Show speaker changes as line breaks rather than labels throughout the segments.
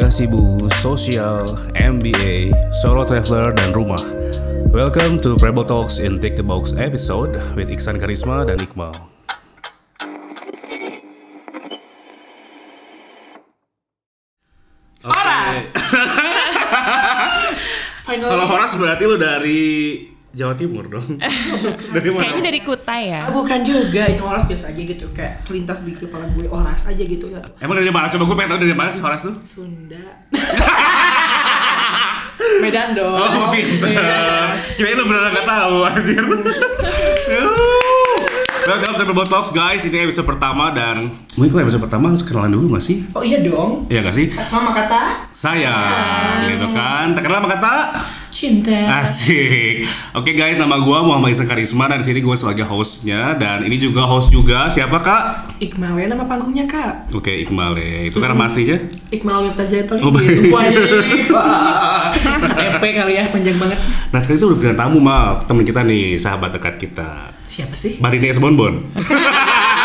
Gasibu, Sosial, MBA, Solo Traveler, dan Rumah. Welcome to Prebble Talks in Take the Box episode with Iksan Karisma dan Iqbal.
Horas. Finally.
Kalau Horas berarti lu dari Jawa Timur dong. dari mana?
Kayaknya dari Kutai ya.
Ah, bukan juga, itu horas biasa aja gitu kayak terlintas di kepala gue horas aja gitu ya.
Emang dari mana? Coba gue pengen tahu dari mana sih Horas tuh?
Sunda. Medan dong.
Oh, pinter.
Yes.
Kirain lu beneran gak tahu anjir. Yuh. Welcome to Prebble Talks guys. Ini episode pertama dan mungkin kalau episode pertama harus kenalan dulu gak sih?
Oh iya dong.
Iya gak sih?
Mama kata
Saya gitu kan. Terkenal sama kata Ah.
cinta.
Asik. Oke guys, nama gua Muhammad Isa Karisma dan di sini gua sebagai hostnya dan ini juga host juga. Siapa kak?
Iqmal ya nama panggungnya kak.
Oke Iqbal ya. Itu kan masihnya.
Iqmal Mirtaza itu
Oh, baik.
Wah, iya. Wah. KTP kali ya panjang banget.
Nah sekarang itu udah bilang tamu mal temen kita nih sahabat dekat kita.
Siapa sih?
Barine S Bonbon.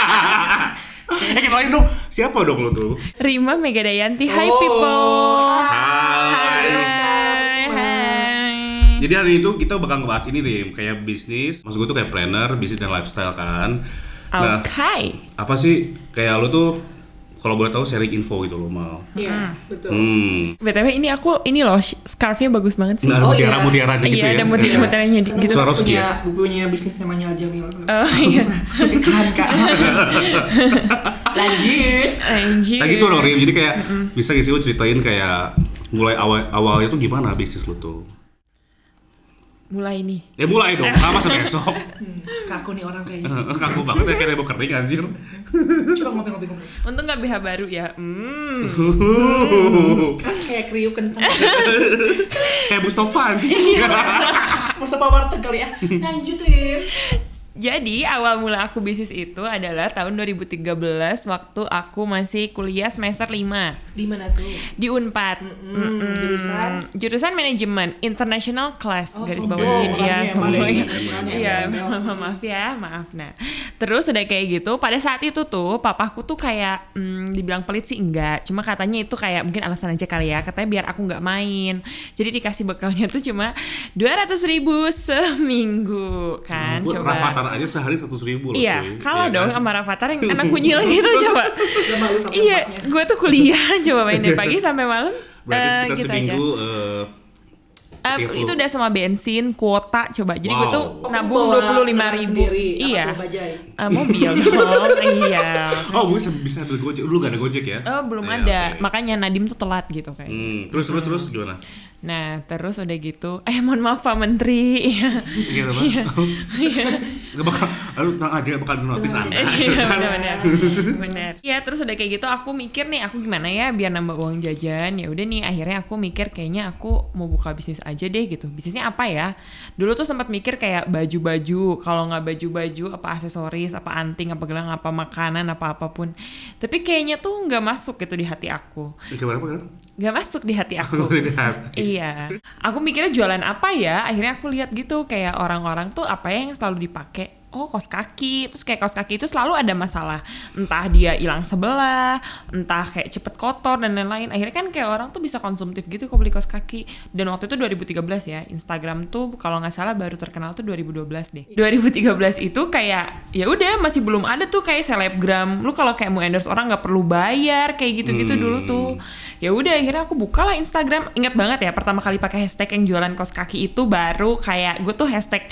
eh kenalin dong. Siapa dong lo tuh?
Rima Megadayanti. Hai
Oh.
people.
Hai.
Hai. Hai.
Jadi hari itu kita bakal ngebahas ini nih kayak bisnis. Maksud gue tuh kayak planner, bisnis dan lifestyle kan. Nah,
Okay.
apa sih kayak lo tuh kalau boleh tahu sharing info gitu lo mal.
Iya, betul.
Hmm.
BTW ini aku ini loh sh- scarfnya bagus banget sih.
Nah, ada
Oh,
mutiara
iya.
mutiara gitu ya.
Iya, ada mutiara-mutiranya di- gitu.
Swarovski ya.
punya, punya bisnis namanya Al Jamil.
Oh iya.
Iklan kak. Hmm. Lanjut.
Anjir.
Nah gitu loh Rim, jadi kayak bisa gak sih lo ceritain kayak mulai awal awalnya tuh gimana bisnis lo tuh?
Mulai nih.
Ya mulai dong, sama besok.
Kaku nih orang kayaknya.
Kaku banget ya kayak rebo kering anjir.
Coba ngopi-ngopi ngopi.
Untung nggak BH baru ya. Hmm.
Kan Kayak kriuk kentang.
kayak Mustafa anjir.
Iya, kan,
Mustafa Warteg kali ya. Lanjut Rim.
Jadi awal mula aku bisnis itu adalah tahun 2013 waktu aku masih kuliah semester 5
Di mana tuh?
di Unpad. Mm-mm.
jurusan?
Jurusan manajemen international class
Oh,
garis
sombong.
bawahin
Orangnya
ya
emang
sombong.
dari
Iya,
internasionalnya,
Iya,
ya.
maaf ya, maaf nah. Terus udah kayak gitu, pada saat itu tuh papaku tuh kayak mm, dibilang pelit sih enggak, cuma katanya itu kayak mungkin alasan aja kali ya, katanya biar aku nggak main. Jadi dikasih bekalnya tuh cuma 200.000 ribu seminggu kan,
Gua
coba.
Rafatan aja sehari seratus ribu loh.
Iya,
cuy.
kalau
Iya
dong
kan?
sama Rafathar yang anak kunyil gitu coba.
Udah malu sampai
iya,
empatnya.
gue tuh kuliah coba main dari pagi sampai malam.
Berarti
eh,
sekitar
gitu aja.
seminggu eh,
Eh,
30.
itu udah sama bensin kuota coba. Jadi gue
Wow.
tuh
Oh,
nabung
bawa
dua puluh lima
kendaraan
ribu.
sendiri, apa
Iya.
tuh, bajai?
Eh, mobil dong. iya.
Oh, mungkin se- bisa ada gojek. Dulu gak ada gojek ya?
Eh, belum
Iya,
ada.
oke.
Makanya Nadim tuh telat gitu kayak.
Hmm, terus terus terus gimana?
Nah, terus udah gitu, eh mohon maaf Pak Menteri. Iya.
Iya, apa? Gak bakal, aduh tenang aja, gak bakal di notis anda.
Iya benar-benar. Benar. Ya terus udah kayak gitu aku mikir nih aku gimana ya biar nambah uang jajan. Ya udah nih akhirnya aku mikir kayaknya aku mau buka bisnis aja deh gitu. Bisnisnya apa ya? Dulu tuh sempat mikir kayak baju-baju, kalau nggak baju-baju apa aksesoris, apa anting, apa gelang, apa makanan, apa apapun. Tapi kayaknya tuh nggak masuk gitu di hati aku.
Gimana apa kan?
Nggak masuk di hati
Aku
aku.
lihat.
Iya, aku mikirnya jualan apa ya? Akhirnya aku lihat gitu kayak orang-orang tuh apa ya yang selalu dipakai. Oh kaos kaki, terus kayak kaos kaki itu selalu ada masalah. Entah dia hilang sebelah, entah kayak cepet kotor dan lain-lain. Akhirnya kan kayak orang tuh bisa konsumtif gitu kalau beli kaos kaki. Dan waktu itu 2013 ya, Instagram tuh kalau nggak salah baru terkenal tuh 2012 deh. 2013 itu kayak ya udah masih belum ada tuh kayak selebgram. Lu kalau kayak mau endorse orang nggak perlu bayar kayak gitu-gitu dulu tuh ya udah akhirnya aku buka lah Instagram ingat banget ya pertama kali pakai hashtag yang jualan kos kaki itu baru kayak gue tuh hashtag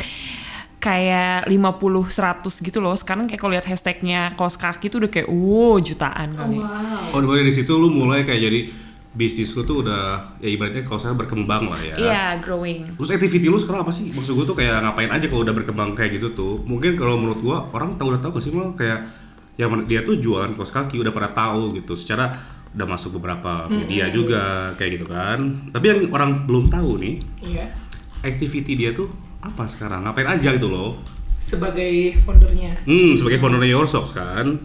kayak 50 100 gitu loh sekarang kayak kalau lihat hashtagnya kos kaki tuh udah kayak wow jutaan kali
Wow.
Oh, dari situ lu mulai kayak jadi bisnis lu tuh udah ya ibaratnya kalau saya berkembang lah ya.
iya growing
Terus eh, activity lu sekarang apa sih? Maksud gue tuh kayak ngapain aja kalau udah berkembang kayak gitu tuh. Mungkin kalau menurut gua orang tahu udah tahu gak sih mal kayak yang men- dia tuh jualan kaos kaki udah pada tahu gitu. Secara udah masuk beberapa media juga kayak gitu kan. Tapi yang orang belum tahu nih,
Iya.
activity dia tuh apa sekarang? Ngapain aja gitu loh.
Sebagai foundernya.
Hmm, sebagai founder Your Socks kan.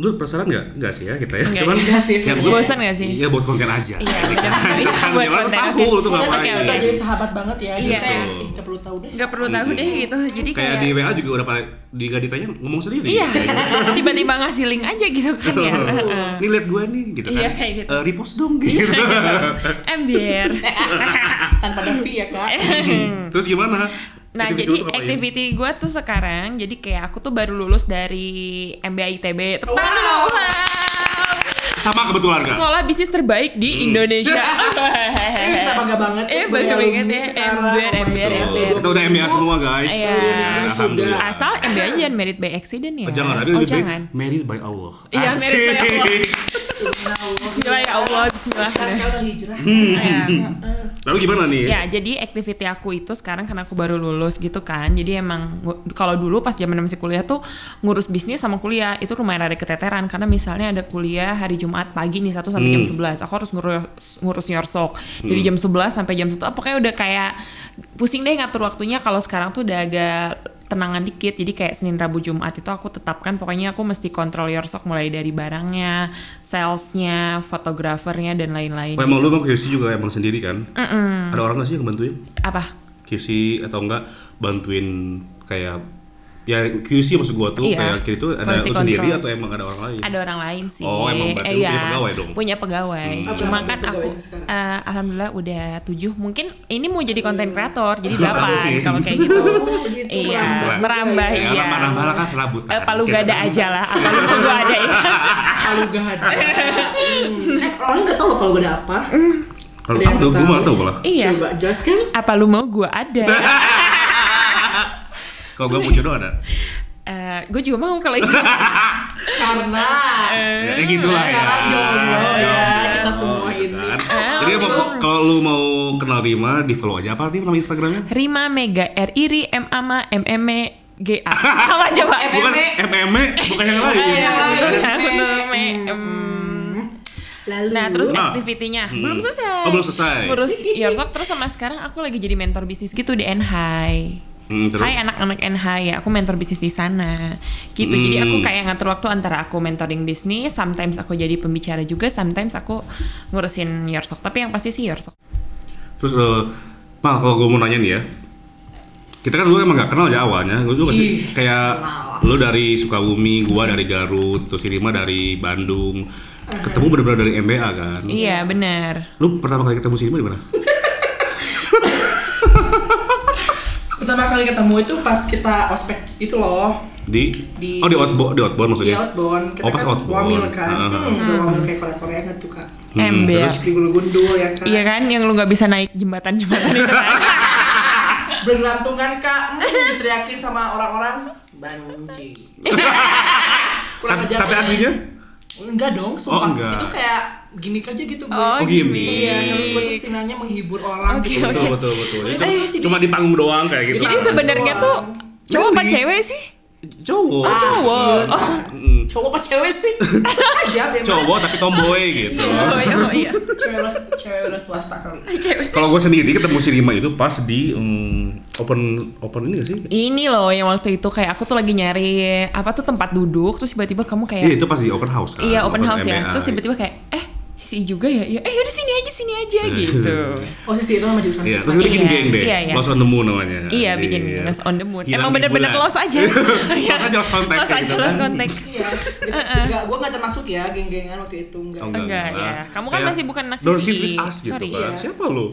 lu penasaran nggak nggak sih ya kita ya
Nggak,
cuman
nggak sih
ya,
sebenarnya.
buat-
Bosan nggak sih?
ya buat konten aja
Iya, iya,
Kan
buat
orang
konten.
tahu lu tuh
Semoga
ngapain
kayak Iya, kan kita
Oke.
jadi sahabat banget ya.
Iya.
Kita yang
Betul.
ih, nggak perlu tahu deh.
nggak perlu tahu deh gitu jadi
kayak di WA juga udah pada nggak ditanya ngomong sendiri Gitu.
Iya,
ya.
tiba-tiba ngasih link aja gitu kan ya. Heeh.
nih lihat gue nih gitu kan
Iya, kayak gitu.
Eh, repost dong gitu
MDR.
Tanpa ada fee ya kak.
Eh.
terus gimana
gitu. Nah,
Activity lu
jadi
tuh ngapain?
activity gue tuh sekarang, jadi kayak aku tuh baru lulus dari MBA ITB. Tepuk tangan
Wow.
dong. wow.
sama kebetulan kan
Sekolah bisnis terbaik di Indonesia.
Hmm. Ini kita bangga banget ya
Eh,
sebagai
bangga banget
alumni
ya.
sekarang.
MBR,
Oh my
MBR,
God.
Betul. kita udah MBA semua guys
Iya.
alhamdulillah
Asal MBA jangan married by accident ya.
Oh, jangan ada
oh,
lebih baik
jangan.
married by Allah
Iya, married by Allah.
Asik.
Bismillah ya Allah, bismillah.
Sekarang sekarang hijrah.
Iya.
Eh,
lalu gimana nih
Ya, jadi activity aku itu sekarang karena aku baru lulus gitu kan. Jadi emang ngu- kalau dulu pas zaman masih kuliah tuh ngurus bisnis sama kuliah itu lumayan ada keteteran karena misalnya ada kuliah hari Jumat pagi nih 1 sampai jam
Hmm.
11. Aku harus ngurus ngurus nyorsok dari jam 11 sampai jam 1. Ah, Pokoknya udah kayak pusing deh ngatur waktunya kalau sekarang tuh udah agak tenangan dikit jadi kayak Senin Rabu Jumat itu aku tetapkan pokoknya aku mesti kontrol yorsok mulai dari barangnya, salesnya, fotografernya dan lain-lain.
Oh, emang lu emang QC juga emang sendiri kan?
Hmm.
Ada orang nggak sih yang bantuin?
Apa?
QC atau enggak bantuin kayak ya QC maksud gua tuh
Iya.
kayak gitu ada
Quality
lu sendiri
control.
atau emang ada orang lain?
ada orang lain sih.
Oh, emang berarti lu punya
iya.
pegawai dong?
Punya pegawai.
Hmm.
Cuma
Berapa
kan aku
pegawai sekarang?
eh, alhamdulillah udah tujuh. Mungkin ini mau jadi konten kreator, jadi
Oke.
delapan kalau kayak gitu.
Oh, gitu,
iya,
merambah.
merambah
Ya,
iya.
merambah lah gitu. kan serabutan.
Eh, palu
Siapa
gada
tahu.
aja lah. Apa lu palu gada ya?
Palu gada. Hmm. Eh, orang nggak tahu loh palu gada apa.
Hmm.
Kalau
Ada yang
tahu gua
tahu.
malah tahu malah.
Iya.
Coba jelaskan.
Apa lu mau gua ada? ya?
Kalau gua mau jodoh ada.
Eh, gue juga mau kalau itu.
Karena
Ya,
Hmm,
kayak gitulah ya.
Sekarang jomblo ya,
Jomblo,
kita semua
gitu
ini.
kan.
Ah,
Jadi apa-
gitu.
kalau lu mau kenal Rima di follow aja apa nih nama Instagramnya?
Rima Mega R Iri M Ama M M E G A. Apa coba?
Bukan MME, bukan yang lain.
E. yang lain.
Rima E.
Lalu
Nah, terus
Nah.
aktivitinya
Hmm.
belum selesai.
Oh, belum selesai.
Ngurus Yortok terus sama sekarang aku lagi jadi mentor bisnis gitu di NHI.
Hmm, terus?
Hai anak-anak NHI ya, aku mentor bisnis di sana. Gitu. Jadi aku
Hmm.
kayak ngatur waktu antara aku mentoring bisnis, sometimes aku jadi pembicara juga, sometimes aku ngurusin Yortok. Tapi yang pasti sih Yortok.
Terus eh Mal, kalau gue mau nanya nih ya Kita kan dulu emang gak kenal ya awalnya Gue juga sih
Ih,
kayak
kenal.
Lu dari Sukabumi, gua dari Garut Terus si Rima dari Bandung Ketemu bener-bener dari MBA kan
Iya, benar.
Lu pertama kali ketemu si Rima di mana?
pertama kali ketemu itu pas kita ospek itu loh
Di?
Di-
oh di Outbound, di outbound
di
maksudnya?
outbound kita
Oh, pas
kan
outbound.
wamil kan
Ah.
hmm, udah wamil kayak Korea Korea kan tuh kak
Hmm,
Ember.
terus?
di gulu gundul ya kak
Iya kan yang lu nggak bisa naik jembatan-jembatan itu kan.
bergelantungan kak hmm, diteriakin sama orang-orang banci
Tapi,
kurang ajar ya.
tapi aslinya?
enggak dong sumpah
Oh, enggak.
itu kayak gimmick aja gitu Bu.
Oh,
Oh, gimmick.
iya kalau gue tuh sinarnya menghibur orang
Oke,
gitu.
oke.
Betul, betul, betul Jadi
Sebenarnya
cuma,
sih
cuma di panggung doang kayak gitu
Jadi sebenarnya tuh cowok apa
Really?
cewek sih?
Cowok
Oh, cowok. Oh,
Mm,
cowok pas cewek sih aja memang
Cowok tapi tomboy gitu
oh, iya, oh, iya.
cewek udah- cewek udah swasta kali
Cewek.
Kalau gue sendiri ketemu si Rima itu pas di mm, open open ini gak sih?
Ini loh yang waktu itu kayak aku tuh lagi nyari apa tuh tempat duduk terus tiba-tiba kamu kayak
Iya itu pas di open house kan?
iya open house
MBA.
ya. Terus tiba-tiba kayak eh sisi juga ya. Iya, eh yaudah sini aja sini aja gitu.
posisi Oh, itu sama jurusan
Iya,
kita.
terus dia bikin
Iya,
geng deh.
iya, iya.
Lost on the moon namanya.
Iya bikin
Iya.
lost on the mood.
Hilang
Emang
di
bener-bener
bulan.
los aja.
Los aja, los contact
Los
kayak
aja
gitu
los
kan.
kontak.
Iya, enggak, gue nggak termasuk ya geng-gengan waktu itu enggak.
Oh,
Enggak,
enggak.
iya. Kamu kan
Kayak,
masih bukan anak
Don't
sisi.
sit with us gitu
Sorry,
kan.
iya.
Siapa lu?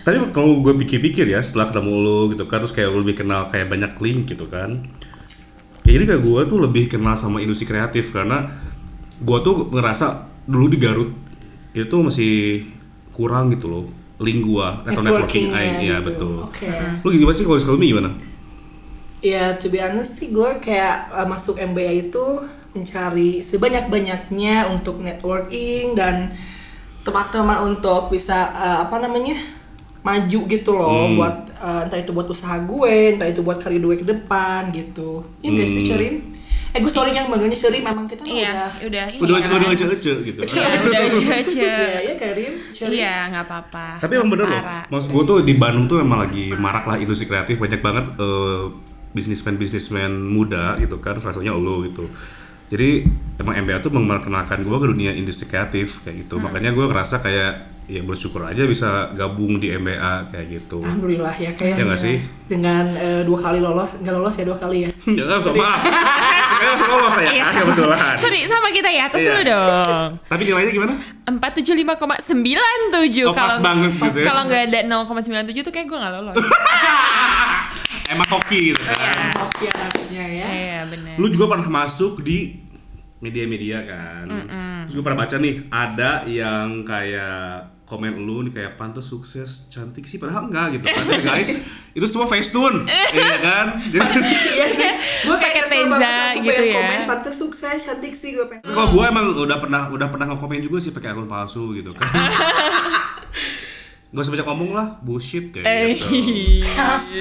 Tapi kalau gue pikir-pikir ya setelah ketemu lu gitu kan terus kayak lu lebih kenal kayak banyak link gitu kan. Ya jadi kayak gue tuh lebih kenal sama industri kreatif karena gue tuh ngerasa dulu di Garut itu masih kurang gitu loh link gua atau networking,
Networking-nya
iya
gitu.
betul.
Oke.
Lu gimana sih kalau di Sukabumi gimana?
Ya, to be honest sih gue kayak uh, masuk MBA itu mencari sebanyak-banyaknya untuk networking dan teman-teman untuk bisa uh, apa namanya maju gitu loh
Hmm.
buat uh, entah itu buat usaha gue, entah itu buat karir gue ke depan gitu. Ya guys, sih
Hmm.
Cerim. Eh gue sorry yang manggilnya Cerim, emang kita mah Oh,
Iya,
udah.
udah ini.
Udah
kan.
udah aja aja gitu.
Iya, udah aja aja.
Iya, ya Karim, Cerim.
Iya, nggak apa-apa.
Tapi emang bener loh.
Parah.
Maksud gue tuh di Bandung tuh emang lagi marak lah industri kreatif banyak banget eh, bisnismen-bisnismen muda gitu kan salah satunya lo gitu jadi emang MBA tuh memperkenalkan gue ke dunia industri kreatif kayak gitu makanya gue ngerasa kayak ya bersyukur aja bisa gabung di MBA kayak gitu
Alhamdulillah ya kayak
Iya nggak sih?
dengan eh, dua kali lolos nggak lolos ya dua kali ya
jangan sok maaf saya langsung lolos saya
Iya.
kan kebetulan
Sorry, sama kita ya. Atas
Iya.
dulu dong.
tapi nilainya gimana
475,97
Oh, pas
kalau
banget
pas
gitu ya.
kalau nggak ada 0,97 tuh kayak gue nggak lolos.
emang hoki gitu kan
Oke anaknya ya
Iya, bener.
lu juga pernah masuk di media-media kan terus gue pernah baca nih ada yang kayak komen lu nih kayak pantas sukses cantik sih padahal enggak gitu padahal guys itu semua facetune iya kan jadi
Iya sih gue
Pakai
kayak kesel banget
Teza
langsung
gitu
pengen
ya.
komen pantes sukses cantik sih gue pengen
kalau gue emang udah pernah udah pernah nge-komen juga sih pakai akun palsu gitu kan Gak usah banyak ngomong lah, bullshit
Eh,
kayak gitu
Kas.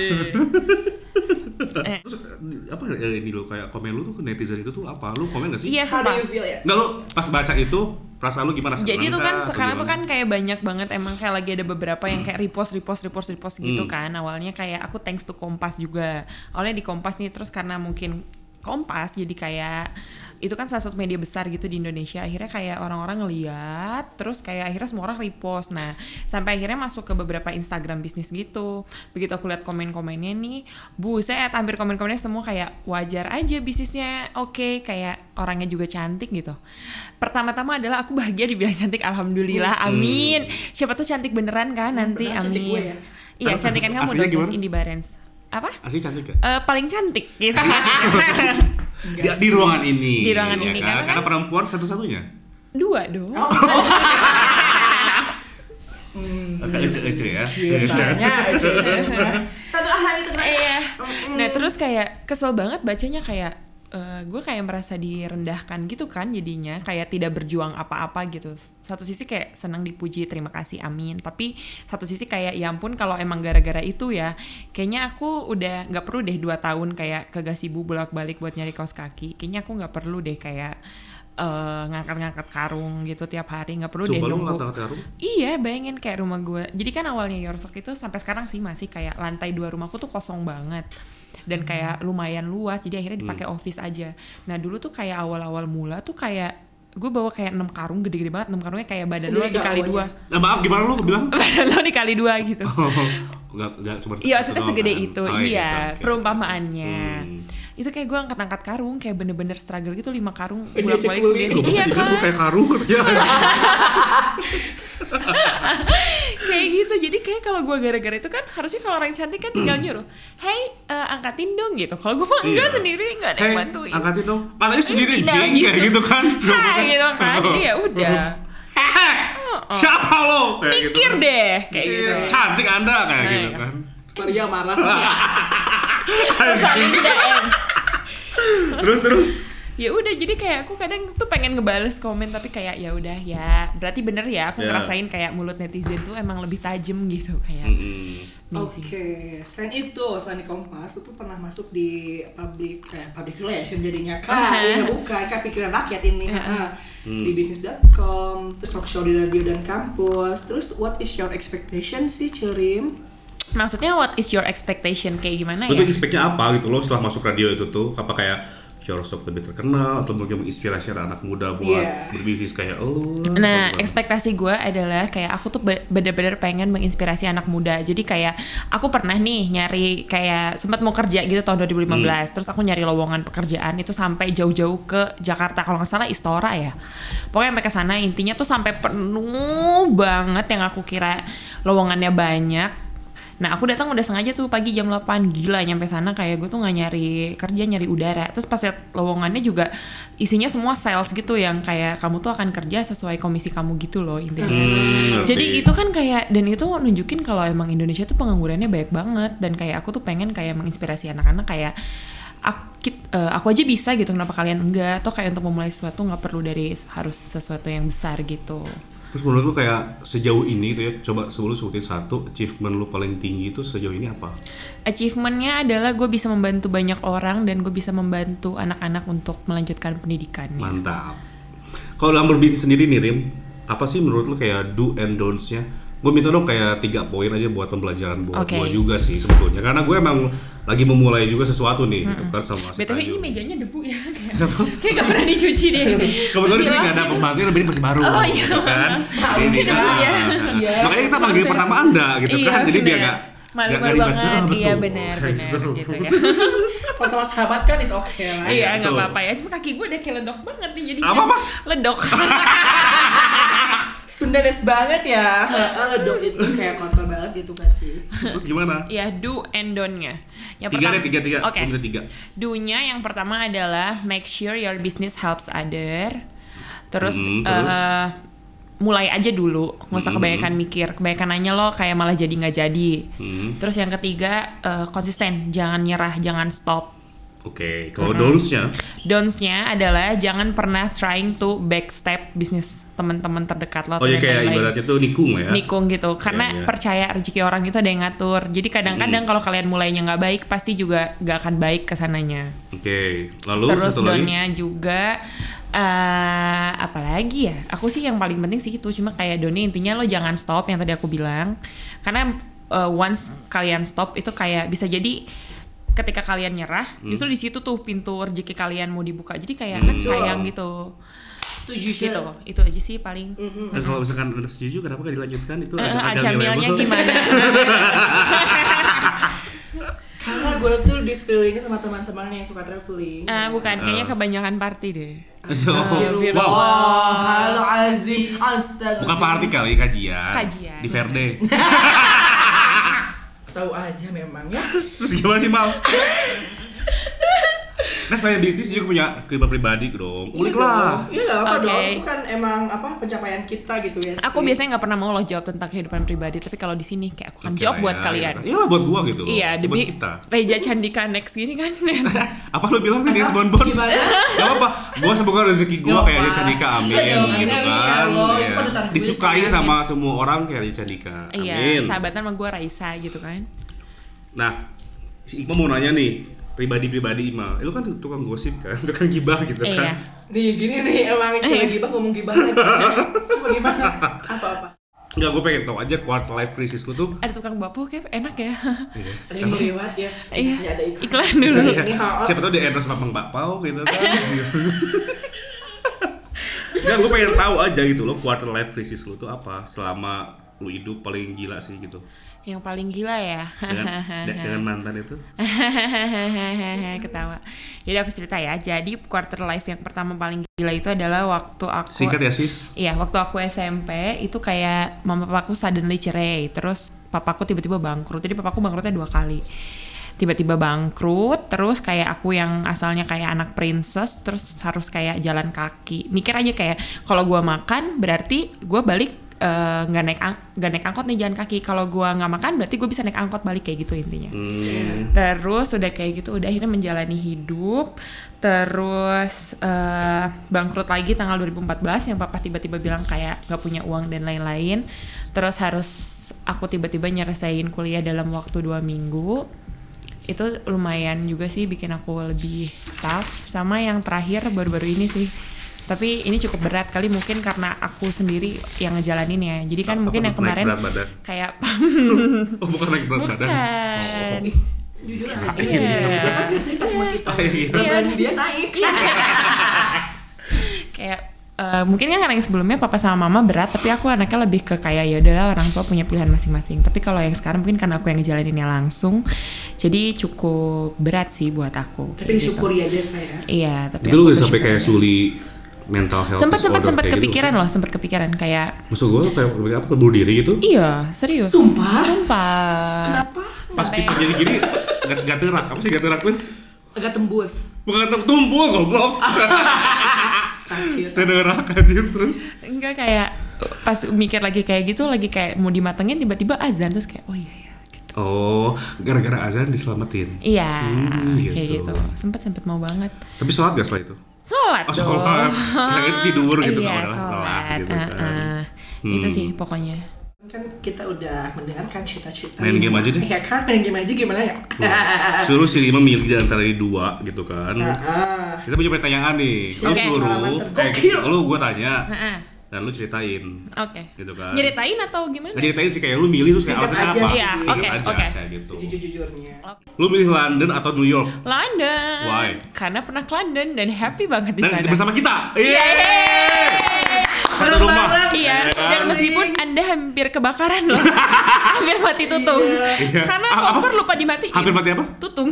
Terus apa eh, ini lo kayak komen lu tuh ke netizen itu kan tuh apa? Lu komen gak sih?
Iya,
How do
sumpah.
you feel ya?
Enggak lu pas baca itu perasaan lu gimana?
Jadi
Senang
tuh kan
kah atau
sekarang tuh
gimana?
kan kayak banyak banget emang kayak lagi ada beberapa yang kayak repost repost repost repost gitu
Hmm.
kan. Awalnya kayak aku thanks to Kompas juga. Awalnya di Kompas nih terus karena mungkin Kompas jadi kayak itu kan salah satu media besar gitu di Indonesia. Akhirnya kayak orang-orang ngeliat terus kayak akhirnya semua orang repost. Nah, sampai akhirnya masuk ke beberapa Instagram bisnis gitu. Begitu aku lihat komen-komennya nih, buset hampir komen-komennya semua kayak wajar aja bisnisnya. Oke, kayak orangnya juga cantik gitu. Pertama-tama adalah aku bahagia dibilang cantik alhamdulillah. Amin. Siapa tuh cantik beneran kan nanti
Hmm. Beneran cantik gue
amin.
ya?
Iya, cantikan kamu
Aslinya
dong Miss
gimana?
Indi Barens. Apa?
Asli cantik ya? gak?
Eh, paling cantik gitu.
Di, di ruangan ini.
Di ruangan
kan?
ini, karena
Karena,
kan-
perempuan satu-satunya.
Dua dong.
Oh,
Iya.
Hmm,
Agak ece-ece ya.
Iya, Tanya aja iya. Satu ahlam itu kenapa?
Iya.
Mm-mm.
Nah terus kayak kesel banget bacanya kayak eh, gue kayak merasa direndahkan gitu kan jadinya kayak tidak berjuang apa-apa gitu. Satu sisi kayak senang dipuji terima kasih amin. Tapi satu sisi kayak ya ampun kalau emang gara-gara itu ya kayaknya aku udah nggak perlu deh dua tahun kayak ke Gasibu bolak-balik buat nyari kaos kaki. Kayaknya aku nggak perlu deh kayak eh, ngangkat-ngangkat karung gitu tiap hari nggak perlu deh
Sumpah lu
nunggu.
ngata kata lu.
Iya, bayangin kayak rumah gue. Jadi kan awalnya Yorsok itu sampai sekarang sih masih kayak lantai dua rumahku tuh kosong banget dan kayak
Hmm.
lumayan luas. Jadi akhirnya dipakai office aja. Nah dulu tuh kayak awal-awal mula tuh kayak gue bawa kayak 6 karung gede-gede banget. 6 karungnya kayak badan lo
Sendiri ke
dikali dua,
awalnya.
Nah, maaf gimana lu bilang?
badan lo dikali dua gitu.
Enggak enggak cuma satu
Iya, maksudnya
doang,
segede
kan?
itu.
Oh,
iya,
oke, oke.
perumpamaannya.
Hmm.
Itu kayak gue angkat-angkat karung, kayak bener-bener struggle gitu lima karung
Ece-ece
bolak-balik
kuli.
sendiri.
Eh, Gua
Iya
bahkan
kan?
gua kayak karung ya.
kayak gitu jadi kayak kalau gue gara-gara itu kan harusnya kalau orang cantik kan tinggal nyuruh hey eh, angkatin dong gitu kalau gue mah enggak
Hmm. Iya.
sendiri nggak ada
Hei,
yang bantuin
angkatin dong. Matanya sendiri
Nah,
jing kayak gitu kan. Oh.
Hai, gitu kan jadi ya udah Oh,
Heh, Siapa lo? Kayak gitu
mikir
kan.
deh kayak gitu
Iya, Cantik Anda kayak
Nah,
gitu
iya.
kan.
Maria marah
Terus saling tidak
Terus terus.
ya udah jadi kayak aku kadang tuh pengen ngebales komen tapi kayak ya udah ya berarti bener ya aku
Ya.
ngerasain kayak mulut netizen tuh emang lebih tajam gitu kayak
Mm-mm.
amazing.
Oke, selain itu, selain di Kompas, itu pernah masuk di public kayak public relation jadinya kak,
Aha.
iya bukan kak pikiran rakyat ini ha.
Hmm.
di bisnis.com, terus talk show di radio dan kampus, terus what is your expectation sih Cerim?
maksudnya what is your expectation kayak gimana
Lu tuh
ya
expect-nya apa gitu loh setelah masuk radio itu tuh apa kayak Jorosok lebih terkenal atau mungkin menginspirasi anak muda buat
Iya.
berbisnis kayak "Oh, lo
Nah, ekspektasi gue adalah kayak aku tuh be- bener-bener pengen menginspirasi anak muda. Jadi kayak aku pernah nih nyari kayak sempat mau kerja gitu tahun 2015. Terus aku nyari lowongan pekerjaan itu sampai jauh-jauh ke Jakarta kalau nggak salah Istora ya. Pokoknya sampai ke sana intinya tuh sampai penuh banget yang aku kira lowongannya banyak. Nah aku datang udah sengaja tuh pagi jam 8 Gila nyampe sana kayak gue tuh gak nyari kerja nyari udara Terus pas liat lowongannya juga isinya semua sales gitu Yang kayak kamu tuh akan kerja sesuai komisi kamu gitu loh intinya
Hmm,
Jadi
ngerti.
itu kan kayak dan itu nunjukin kalau emang Indonesia tuh penganggurannya banyak banget Dan kayak aku tuh pengen kayak menginspirasi anak-anak kayak Aku, kit- eh, aku aja bisa gitu kenapa kalian enggak Atau kayak untuk memulai sesuatu nggak perlu dari harus sesuatu yang besar gitu
Terus menurut lu kayak sejauh ini tuh ya coba sebelum sebutin satu achievement lu paling tinggi itu sejauh ini apa?
Iya. Achievementnya adalah gue bisa membantu banyak orang dan gue bisa membantu anak-anak untuk melanjutkan pendidikannya.
Mantap. Kalau dalam berbisnis sendiri nih Rim, apa sih menurut lu kayak do and don'ts-nya? gue minta dong kayak tiga poin aja buat pembelajaran buat
Oke.
gue juga sih sebetulnya karena gue emang lagi memulai juga sesuatu nih gitu kan sama si
BTW
Tayo.
ini mejanya debu ya kayak kayak gak pernah dicuci deh.
Kebetulan di sini nggak ada
Dilapin.
pembantunya, tapi ini masih baru,
Iya. Oh, iya.
gitu kan?
Ah,
Ini
mungkin
kan,
dulu
ya.
ah,
Iya.
Makanya kita panggil
Langsung.
pertama anda, gitu
iya,
kan? Jadi dia
bener.
nggak nggak- nggak
malu-malu
ribet.
banget.
Ah,
iya
betul.
benar benar
Gitu.
gitu kan.
Kalau sama sahabat kan is oke okay lah.
Iya,
Iya nggak
betul.
apa-apa ya. Cuma kaki gue udah kayak ledok banget nih jadi
Apa-apa?
ledok.
Sundanes banget ya. Heeh, ledok itu kayak kotor banget gitu gak sih?
Terus gimana?
Iya do and don't-nya. Yang
Tiga deh,
pertama-
tiga, tiga.
Oke.
Aku bilang tiga.
Do-nya yang pertama adalah make sure your business helps other. Terus,
Hmm,
eh
terus?
mulai aja dulu, nggak usah
Hmm.
kebanyakan mikir, kebanyakan nanya lo kayak malah jadi nggak jadi.
Hmm.
Terus yang ketiga eh, konsisten, jangan nyerah, jangan stop.
Oke, kalau don'ts-nya,
Don'ts-nya adalah jangan pernah trying to backstep bisnis teman-teman terdekat lo.
oh
atau
ya
yang
kayak
lain-lain
ibaratnya tuh nikung lah ya.
nikung gitu
Iya,
karena
Hmm. iya.
percaya rezeki orang itu ada yang ngatur jadi kadang-kadang kalau kalian mulainya nggak baik pasti juga nggak akan baik kesananya
Oke, lalu
terus
satu lagi.
donnya juga eh apalagi ya aku sih yang paling penting sih itu cuma kayak donnya intinya lo jangan stop yang tadi aku bilang karena eh, once kalian stop itu kayak bisa jadi ketika kalian nyerah
Hmm.
justru di situ tuh pintu rezeki kalian mau dibuka jadi kayak kan
Betul.
sayang gitu
Setuju sih.
gitu itu aja sih paling
Nah, kalau misalkan anda setuju, kenapa gak dilanjutkan? Itu ada
Eh, eh,
ada nilai
acamilnya
apa? Oh,
gimana
Karena gue tuh disekelilingi sama teman-teman yang suka traveling.
Ah, bukan, kayaknya kebanyakan party deh.
Oh,
Wow.
Wow,
halo Azim, Astagfirullah.
bukan party kali, kajian.
Kajian.
Di Verde.
Tahu aja memang ya.
Terus gimana sih Mal? Nah, saya bisnis juga punya kehidupan pribadi dong. Ulik lah.
Iya lah apa
Oke.
dong? Itu kan emang apa pencapaian kita gitu ya.
Aku
sih.
biasanya nggak pernah mau loh jawab tentang kehidupan pribadi, tapi kalau di sini kayak aku akan
Oke
jawab
lah
buat
ya,
kalian.
Iya lah buat gua gitu loh.
Iya,
buat
demi
kita.
Reja Candika next gini kan.
apa lu bilang tadi bon bon?
Gimana?
Gak apa-apa, gua semoga rezeki gua
Gak
kayak
apa.
Ria Candika, amin
Iya
gitu
dong, amin,
kan.
ya Allah, itu
Iya.
panutan gue
Disukai
sih,
sama semua orang kayak Ria Candika,
Iya,
amin.
sahabatan sama gue Raisa gitu kan.
Nah, si Ima mau nanya nih, pribadi-pribadi Ima, Eh, lu kan tukang gosip kan, tukang gibah gitu
Eh,
kan.
Iya.
Nih gini nih emang cara gibah ngomong gibah lagi. Coba gimana? Apa-apa?
Enggak, gua pengen tau aja quarter life crisis lu tuh.
Ada tukang bapu kayak enak ya.
Iya.
Ada yang lewat ya.
Iya,
Biasanya ada iklan.
iklan dulu.
Iya.
Ini hot.
Siapa tau di endorse sama Bang Bakpao gitu kan. Enggak, gue pengen tahu aja gitu lo quarter life crisis lu tuh apa selama lu hidup paling gila sih gitu
Yang paling gila ya.
dengan, de- dengan mantan itu
Ketawa. Jadi aku cerita ya. Jadi quarter life yang pertama paling gila itu adalah waktu aku
singkat ya sis
Iya, waktu aku SMP itu kayak mama papaku suddenly cerai, terus papaku tiba-tiba bangkrut. Jadi papaku bangkrutnya dua kali. Tiba-tiba bangkrut, terus kayak aku yang asalnya kayak anak princess, terus harus kayak jalan kaki. Mikir aja kayak kalau gua makan berarti gua balik eh, nggak naik ang- nggak naik angkot nih jalan kaki. Kalau gua nggak makan berarti gue bisa naik angkot balik kayak gitu intinya.
hmm.
Terus udah kayak gitu, udah akhirnya menjalani hidup. Terus eh, bangkrut lagi tanggal 2014 yang papa tiba-tiba bilang kayak gak punya uang dan lain-lain. Terus harus aku tiba-tiba nyelesain kuliah dalam waktu dua minggu. Itu lumayan juga sih bikin aku lebih tough. Sama yang terakhir baru-baru ini sih. Tapi ini cukup berat kali mungkin karena aku sendiri yang ngejalanin ya. Jadi kan
Apa
mungkin
tuh,
yang
naik
kemarin
berat badan?
kayak
oh bukan naik berat badan Oh.
bukan.
Ih, Jujur aja.
Iya.
Dia kan dia cerita sama kita.
Oh, iya.
Beban
Iya.
dia naik.
kayak eh, mungkin kan karena yang sebelumnya papa sama mama berat tapi aku anaknya lebih ke kayak ya udahlah orang tua punya pilihan masing-masing tapi kalau yang sekarang mungkin karena aku yang ngejalaninnya langsung jadi cukup berat sih buat aku
Tapi
kayak gitu.
disyukuri aja ya. kayak.
iya tapi
itu lu
aku
gak sampai kayak
bersyukur.
suli mental health
sempet sempet
disorder
sempet
kayak gitu
kepikiran loh sempet kepikiran kayak
nggak sih? maksud gue kayak lebih apa bunuh diri gitu
iya serius
Sumpah?
sumpah
Kenapa?
pas
Sampai-
pisah jadi gini gak, gak terak apa sih gak terak pun
Agak tembus.
bukan tumpul goblok
Terakhir.
terak anjir terus
enggak kayak pas mikir lagi kayak gitu lagi kayak mau dimatengin tiba-tiba azan terus kayak oh iya ya
oh gara-gara azan diselamatin
iya
Hmm,
kayak
gitu.
gitu sempet sempet mau banget
Tapi sholat gak setelah itu?
Sholat
Oh
dong.
sholat, kira tidur gitu
iya,
kan orang
sholat.
sholat gitu kan
uh-uh. Itu
Hmm.
sih pokoknya.
Kan kita udah mendengarkan cita-cita.
Main game aja deh. Iya.
Iya kan main game aja gimana ya?
Suruh si Rima milih di antara ini dua gitu kan
Ah, ah.
Kita punya pertanyaan nih,
Oke,
Terus suruh
pengalaman
Eh,
tergokil.
lu gue tanya
Heeh.
dan lu ceritain
Oke.
Gitu kan.
Nyeritain atau gimana?
Nggak ceritain sih kayak lu milih terus kayak
Singkat
alasannya
aja
apa
sih. Iya,
Singkat
oke,
aja,
oke.
kayak gitu
Sejujur-jujurnya.
lu milih London atau New York
London.
Why?
Karena pernah ke London dan happy banget di
dan
sana.
bersama kita Iya, Yeay! satu
Bareng-bareng.
rumah
Iya,
Ya kan?
dan meskipun Anda hampir kebakaran loh. hampir mati tutung.
Iya.
Karena
Apa- apa?
koper lupa dimatiin.
hampir mati apa
tutung.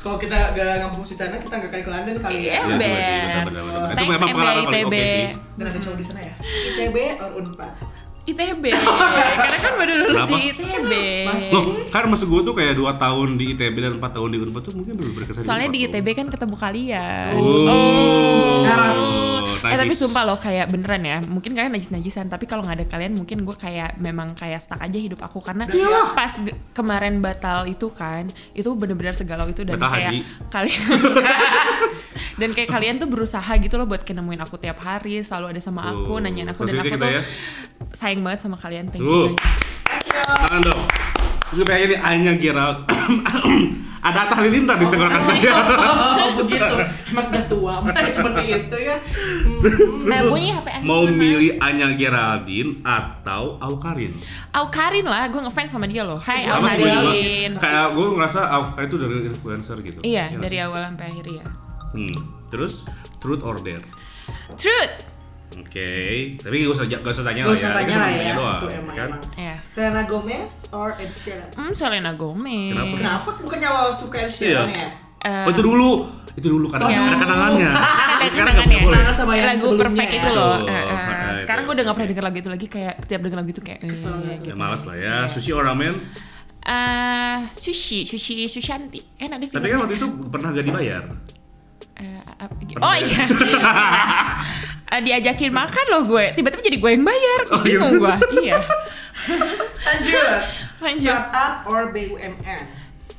Kalau kita gak ngampus di sana, kita gak akan ke London kali ya.
Iya.
Iya,
Ember.
juga sih, benar, benar, benar. itu
Thanks
memang pengalaman paling
MB
oke
ITB.
sih
Dan ada cowok di sana ya? ITB or Unpad?
ITB. Karena kan baru lulus
Kenapa?
di ITB.
Mas-
Loh, kan maksud gue tuh kayak 2 tahun di ITB dan 4 tahun di Unpad tuh mungkin belum berkesan
Soalnya di
Unpad tuh.
ITB kan ketemu kalian.
Oh,
Harus.
Eh tapi
najis.
sumpah loh kayak beneran ya Mungkin kalian najis-najisan Tapi kalau nggak ada kalian mungkin gue kayak Memang kayak stuck aja hidup aku Karena
Iya.
pas ge- kemarin batal itu kan Itu bener-bener segalau itu Dan
Batal
kayak
haji.
kalian Dan kayak kalian tuh berusaha gitu loh Buat kayak nemuin aku tiap hari Selalu ada sama aku
Oh,
Nanyain aku
positif
Dan aku
kita
tuh
ya.
sayang banget sama kalian Thank
Tuh.
you guys.
Tangan dong. Terus kayak ini Anya Gira. Ada Atta Halilintar di tenggorokan saya.
Oh, begitu. Emang udah tua, makanya seperti itu ya. Hmm.
Nah, bunyi HP Anya
Mau
gimana?
milih Anya Geraldine atau Aukarin?
Aukarin lah Gue ngefans sama dia loh Hai
Sama sih gue juga.
Eh, Aukarin
Kayak gue ngerasa Aukarin itu dari influencer gitu.
Iya
nggak
dari
sih?
awal sampai akhir ya
Hmm. Terus Truth or Dare?
Truth
Oke, tapi gak usah, gak usah tanya
Gak
lah
usah
ya.
tanya
Kita
lah
cuma
ya.
doang,
Itu emang
kan?
emang.
Iya.
Selena Gomez or Ed Sheeran?
Hmm, Selena Gomez.
Kenapa?
Kenapa bukannya lo suka Ed Sheeran
Hmm. Iya.
ya?
Eh,
Oh, itu dulu, itu dulu kan
Iya.
ada kenangannya.
ada
Sekarang nggak
kenangan
boleh.
Kenangan sama yang
kan ya? lagu
sebelumnya
perfect
ya.
itu loh.
Betul.
Eh, eh.
Nah, itu.
Sekarang gue udah gak pernah denger lagu itu lagi kayak tiap denger lagu itu kayak eh,
Kesel gitu.
Ya, malas lah ya. Sushi or ramen?
Eh, sushi, sushi, sushanti. Kan ada
Tapi kan waktu itu pernah gak dibayar.
Eh, apa- oh iya. Eh, diajakin makan loh gue. Tiba-tiba jadi gue yang bayar.
Oh, iya.
Bingung gue. Iya.
Lanjut.
Lanjut.
Startup or BUMN?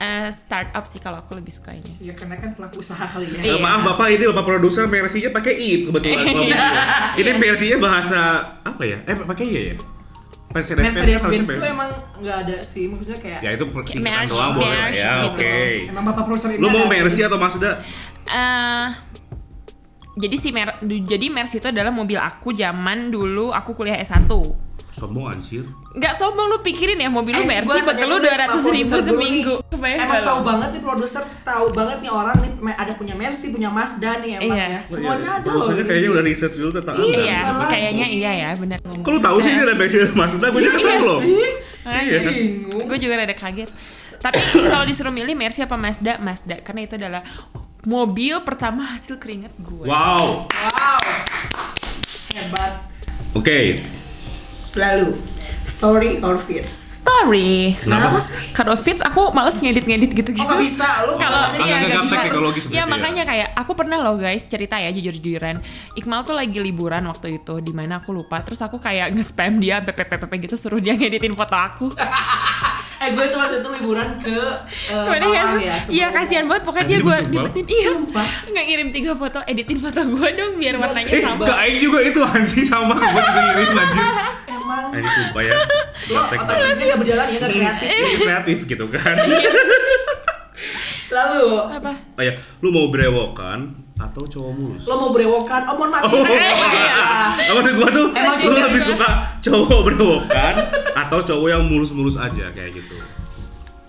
Eh, startup sih kalau aku lebih sukanya.
Ya karena kan pelaku usaha kali ya.
Eh,
Iya.
maaf bapak ini bapak produser mersinya pakai i kebetulan. Kalau begitu. ini mersinya bahasa apa ya? Eh pakai ya ya. Mercedes
Mercedes Benz
harusnya
tuh
pakai-
emang nggak ada sih, maksudnya kayak
Ya itu singkatan
Merch,
doang boleh lah
merch
ya.
gitu.
Oke.
emang bapak produser ini
Lu mau
ada-
Mercy atau Mazda?
eh jadi si Mer jadi Mercy itu adalah mobil aku zaman dulu aku kuliah S1.
Sombong anjir.
Nggak sombong lu pikirin ya mobil
Eh,
lu Mercy
gua
bakal
tanya
lu
dulu
dua
sama
ratus ribu
produser dulu
seminggu.
nih.
Kebayang
Emang
nggak
tahu
lu?
banget nih produser, tahu banget nih orang nih me- ada punya Mercy, punya Mazda nih emang
Iya.
ya.
Oh,
Semuanya ada loh.
Produsernya kayaknya udah research dulu tentang
Iya.
Anda.
Iya,
Apalagi.
kayaknya iya ya bener.
Kok lu tahu sih ini ada Mercedes Mazda? Gue juga
Iya
tahu loh.
sih.
Iya.
Bingung.
Gue juga rada kaget. Tapi kalau disuruh milih Mercy apa Mazda, Mazda karena itu adalah mobil pertama hasil keringat gue.
Wow.
Wow. Hebat.
Oke.
Lalu story or feeds?
Story.
Kenapa?
sih?
Kalau fits aku males ngedit-ngedit gitu-gitu.
Oh nggak bisa, lu
Gitu. kalau
jadi
Agak-agak
iya, nggak
gaptek
bisa.
teknologi
ya
seperti itu
makanya kayak aku pernah loh guys cerita ya jujur-jujuran Iqmal tuh lagi liburan waktu itu di mana aku lupa terus aku kayak nge-spam dia PPPP gitu suruh dia ngeditin foto aku
Eh gue tuh waktu itu liburan ke eh,
Gimana ya?
Malang ya. ke
Iya
Malang.
kasihan banget pokoknya dia
Anjir,
gue
sumpah.
dibetin Iya
Sumpah.
nggak ngirim tiga foto editin foto gue dong biar warnanya
Eh,
sama
ke Aing juga itu anjing sama gue juga ngirim anjir.
Emang
Aing sumpah ya.
lo
Gaptek
Iya, otak
banget.
kerja nggak berjalan ya nggak kreatif.
Jadi
Eh.
kreatif gitu kan.
Lalu
apa
Oh ya, lu mau brewokan atau cowok mulus?
lo mau berewokan, oh mohon maaf
Oh,
ini kan
iya.
cewek ya.
Nah,
Eh,
maksud gua tuh,
Emang
lu
cowok
lebih
iya. juga.
suka cowok brewokan atau cowok yang mulus-mulus aja kayak gitu.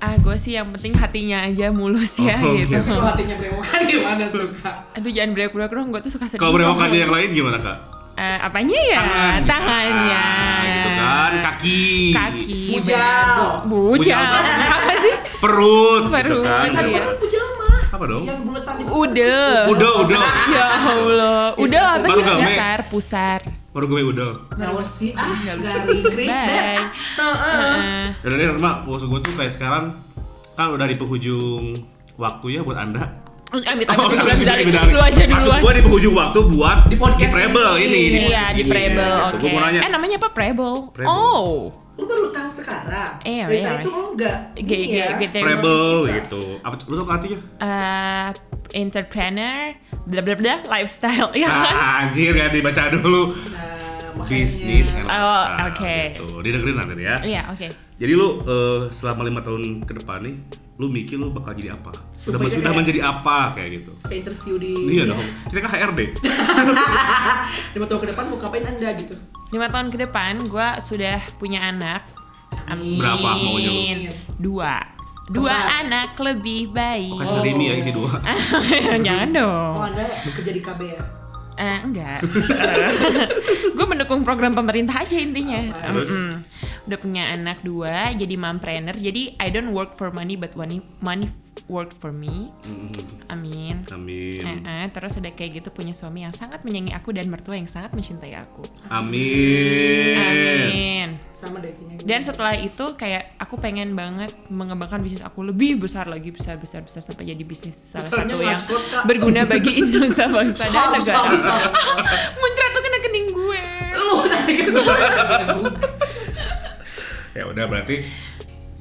ah gue sih yang penting hatinya aja mulus ya
Oh,
gitu
iya.
Lo hatinya berewokan gimana tuh kak?
aduh jangan break-break dong gue tuh suka sedih
Kalau brewokannya
Bang.
yang lain gimana kak?
Eh, apanya ya
Tangan.
tangannya
Ah, gitu kan, kaki,
kaki
Iya,
Bujal.
bujal
Bujal.
apa sih
perut, gitu
Perut,
kan.
Kan
Iya.
perut bujal mah.
Apa dong?
Yang bulatan itu.
udel
Udah, udah.
ya allah udel apa
Iya, Baru
sih
gawe.
pusar pusar
Baru gue udah.
Nawan sih ah
Nggak lucu.
garing krik.
Iya, Bye.
Eh.
Heeh.
Dan ini Rama, maksud gue tuh kayak sekarang kan udah di penghujung waktu ya buat anda
Amit amit
Oh,
amit,
sorry,
amit,
sorry,
amit.
sorry.
Lu aja
Maksud
duluan.
gua di penghujung waktu buat
Di podcast
Prebel
ini.
ini.
Iya
podcast
di
ini.
Prebel,
Gitu.
oke.
Gua mau nanya.
Eh namanya apa Prebel?
Prebel.
Oh,
Lu baru tahu sekarang.
Iya,
Dari
iya,
tadi
iya.
tuh lo nggak.
Ge-
ini
ge-
ya.
ge- dari
Prebel
podcast kita.
gitu. Apa lu tau artinya?
eh,
Nah.
entrepreneur, bla bla bla, lifestyle, ya kan?
Ah, anjir ya dibaca dulu.
Nah, makanya.
bisnis kan? and
Oh,
lifestyle
oke.
gitu. Didengerin nanti ya.
Iya, oke.
Jadi lu eh, selama lima tahun ke depan nih, lu mikir lu bakal jadi apa? Sudah,
Supaya
sudah
kayak-
menjadi apa kayak gitu?
Kayak interview di
Iya dong. Kita kan HRD.
lima tahun ke depan mau ngapain anda gitu
Lima tahun ke depan gue sudah punya anak. Amin.
Berapa maunya lu?
Dua. Dua
Kembar.
anak lebih baik.
Kasih Rimi ya isi dua.
Jangan dong.
oh anda kerja di KB ya
Eh, enggak. gue mendukung program pemerintah aja intinya.
Terus?
Mm-mm. Udah punya anak dua, jadi mompreneur. Jadi I don't work for money, but money money work for me.
Mm,
Amin.
Amin.
Eh, eh, terus udah kayak gitu punya suami yang sangat menyayangi aku dan mertua yang sangat mencintai aku.
Amin.
Amin.
sama deh kayaknya
Dan setelah itu kayak aku pengen banget mengembangkan bisnis aku lebih besar lagi besar besar besar sampai jadi bisnis salah
Caranya
satu yang
ngakut, Kak.
berguna bagi Indonesia bangsa dan
Sama,
negara.
sama, sama.
Muncrat tuh kena kening gue.
lu tadi kan gua
Ya udah berarti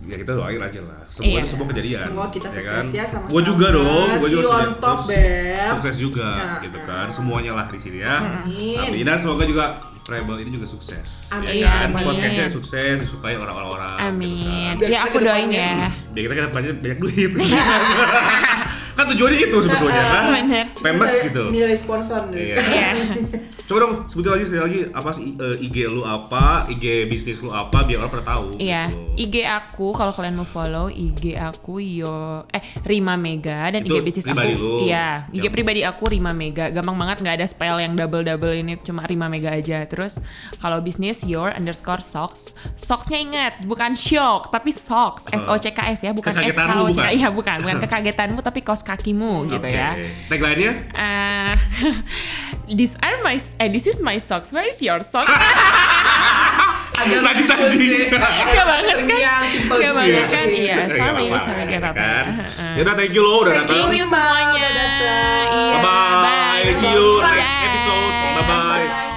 ya kita doain aja lah. Semoga
Iya.
semua kejadian.
Semua kita sukses ya sama-sama.
Gue juga dong. Gue
See
juga
you on
sukses-
top, Beb.
Sukses juga
Nah,
gitu
nah.
kan. Semuanya lah di sini ya.
Amin.
Amin. Dan semoga juga Rebel ini juga sukses.
Amin.
Ya kan?
Amin.
Podcastnya sukses, disukai orang-orang. Gitu kan.
Amin.
Biar
Ya
kita
aku
ke
doain
depannya.
ya.
biar kita kedepannya banyak duit kan tujuannya itu sebetulnya kan
Bener.
famous
Nilai-
gitu
nilai sponsor nih
Iya.
Ya.
coba dong sebutin lagi sekali lagi apa sih eh, IG lu apa IG bisnis lu apa biar orang pada tahu
Iya,
gitu.
IG aku kalau kalian mau follow IG aku yo eh Rima Mega dan
Itu
IG bisnis
pribadi
aku.
lu.
Iya, IG
Yang-
pribadi aku Rima Mega. Gampang banget nggak ada spell yang double-double ini cuma Rima Mega aja. Terus kalau bisnis your underscore socks. Socksnya ingat bukan shock tapi socks S O C K S ya, bukan S K
Kekagetanmu
O C K.
bukan?
Iya, bukan, bukan kekagetanmu tapi kos kakimu gitu
Oke.
ya.
tagline-nya
Eh, these are my eh this is my socks. Where is your socks?
Ah,
agak
Lagi
lucu
sandi.
sih.
Gak banget kan?
Yang simple
Gak
gitu.
banget kan? Iya,
Nggak
sorry,
apa-apa,
sorry, gak
ya
apa-apa.
kan?
Heeh.
ya udah thank you lo udah
Thank
datang
Thank
Terima
you
kasih,
semuanya.
udah datang.
Iya,
Bye-bye. See you next
Bye.
episode. Bye-bye.
Bye. Iya.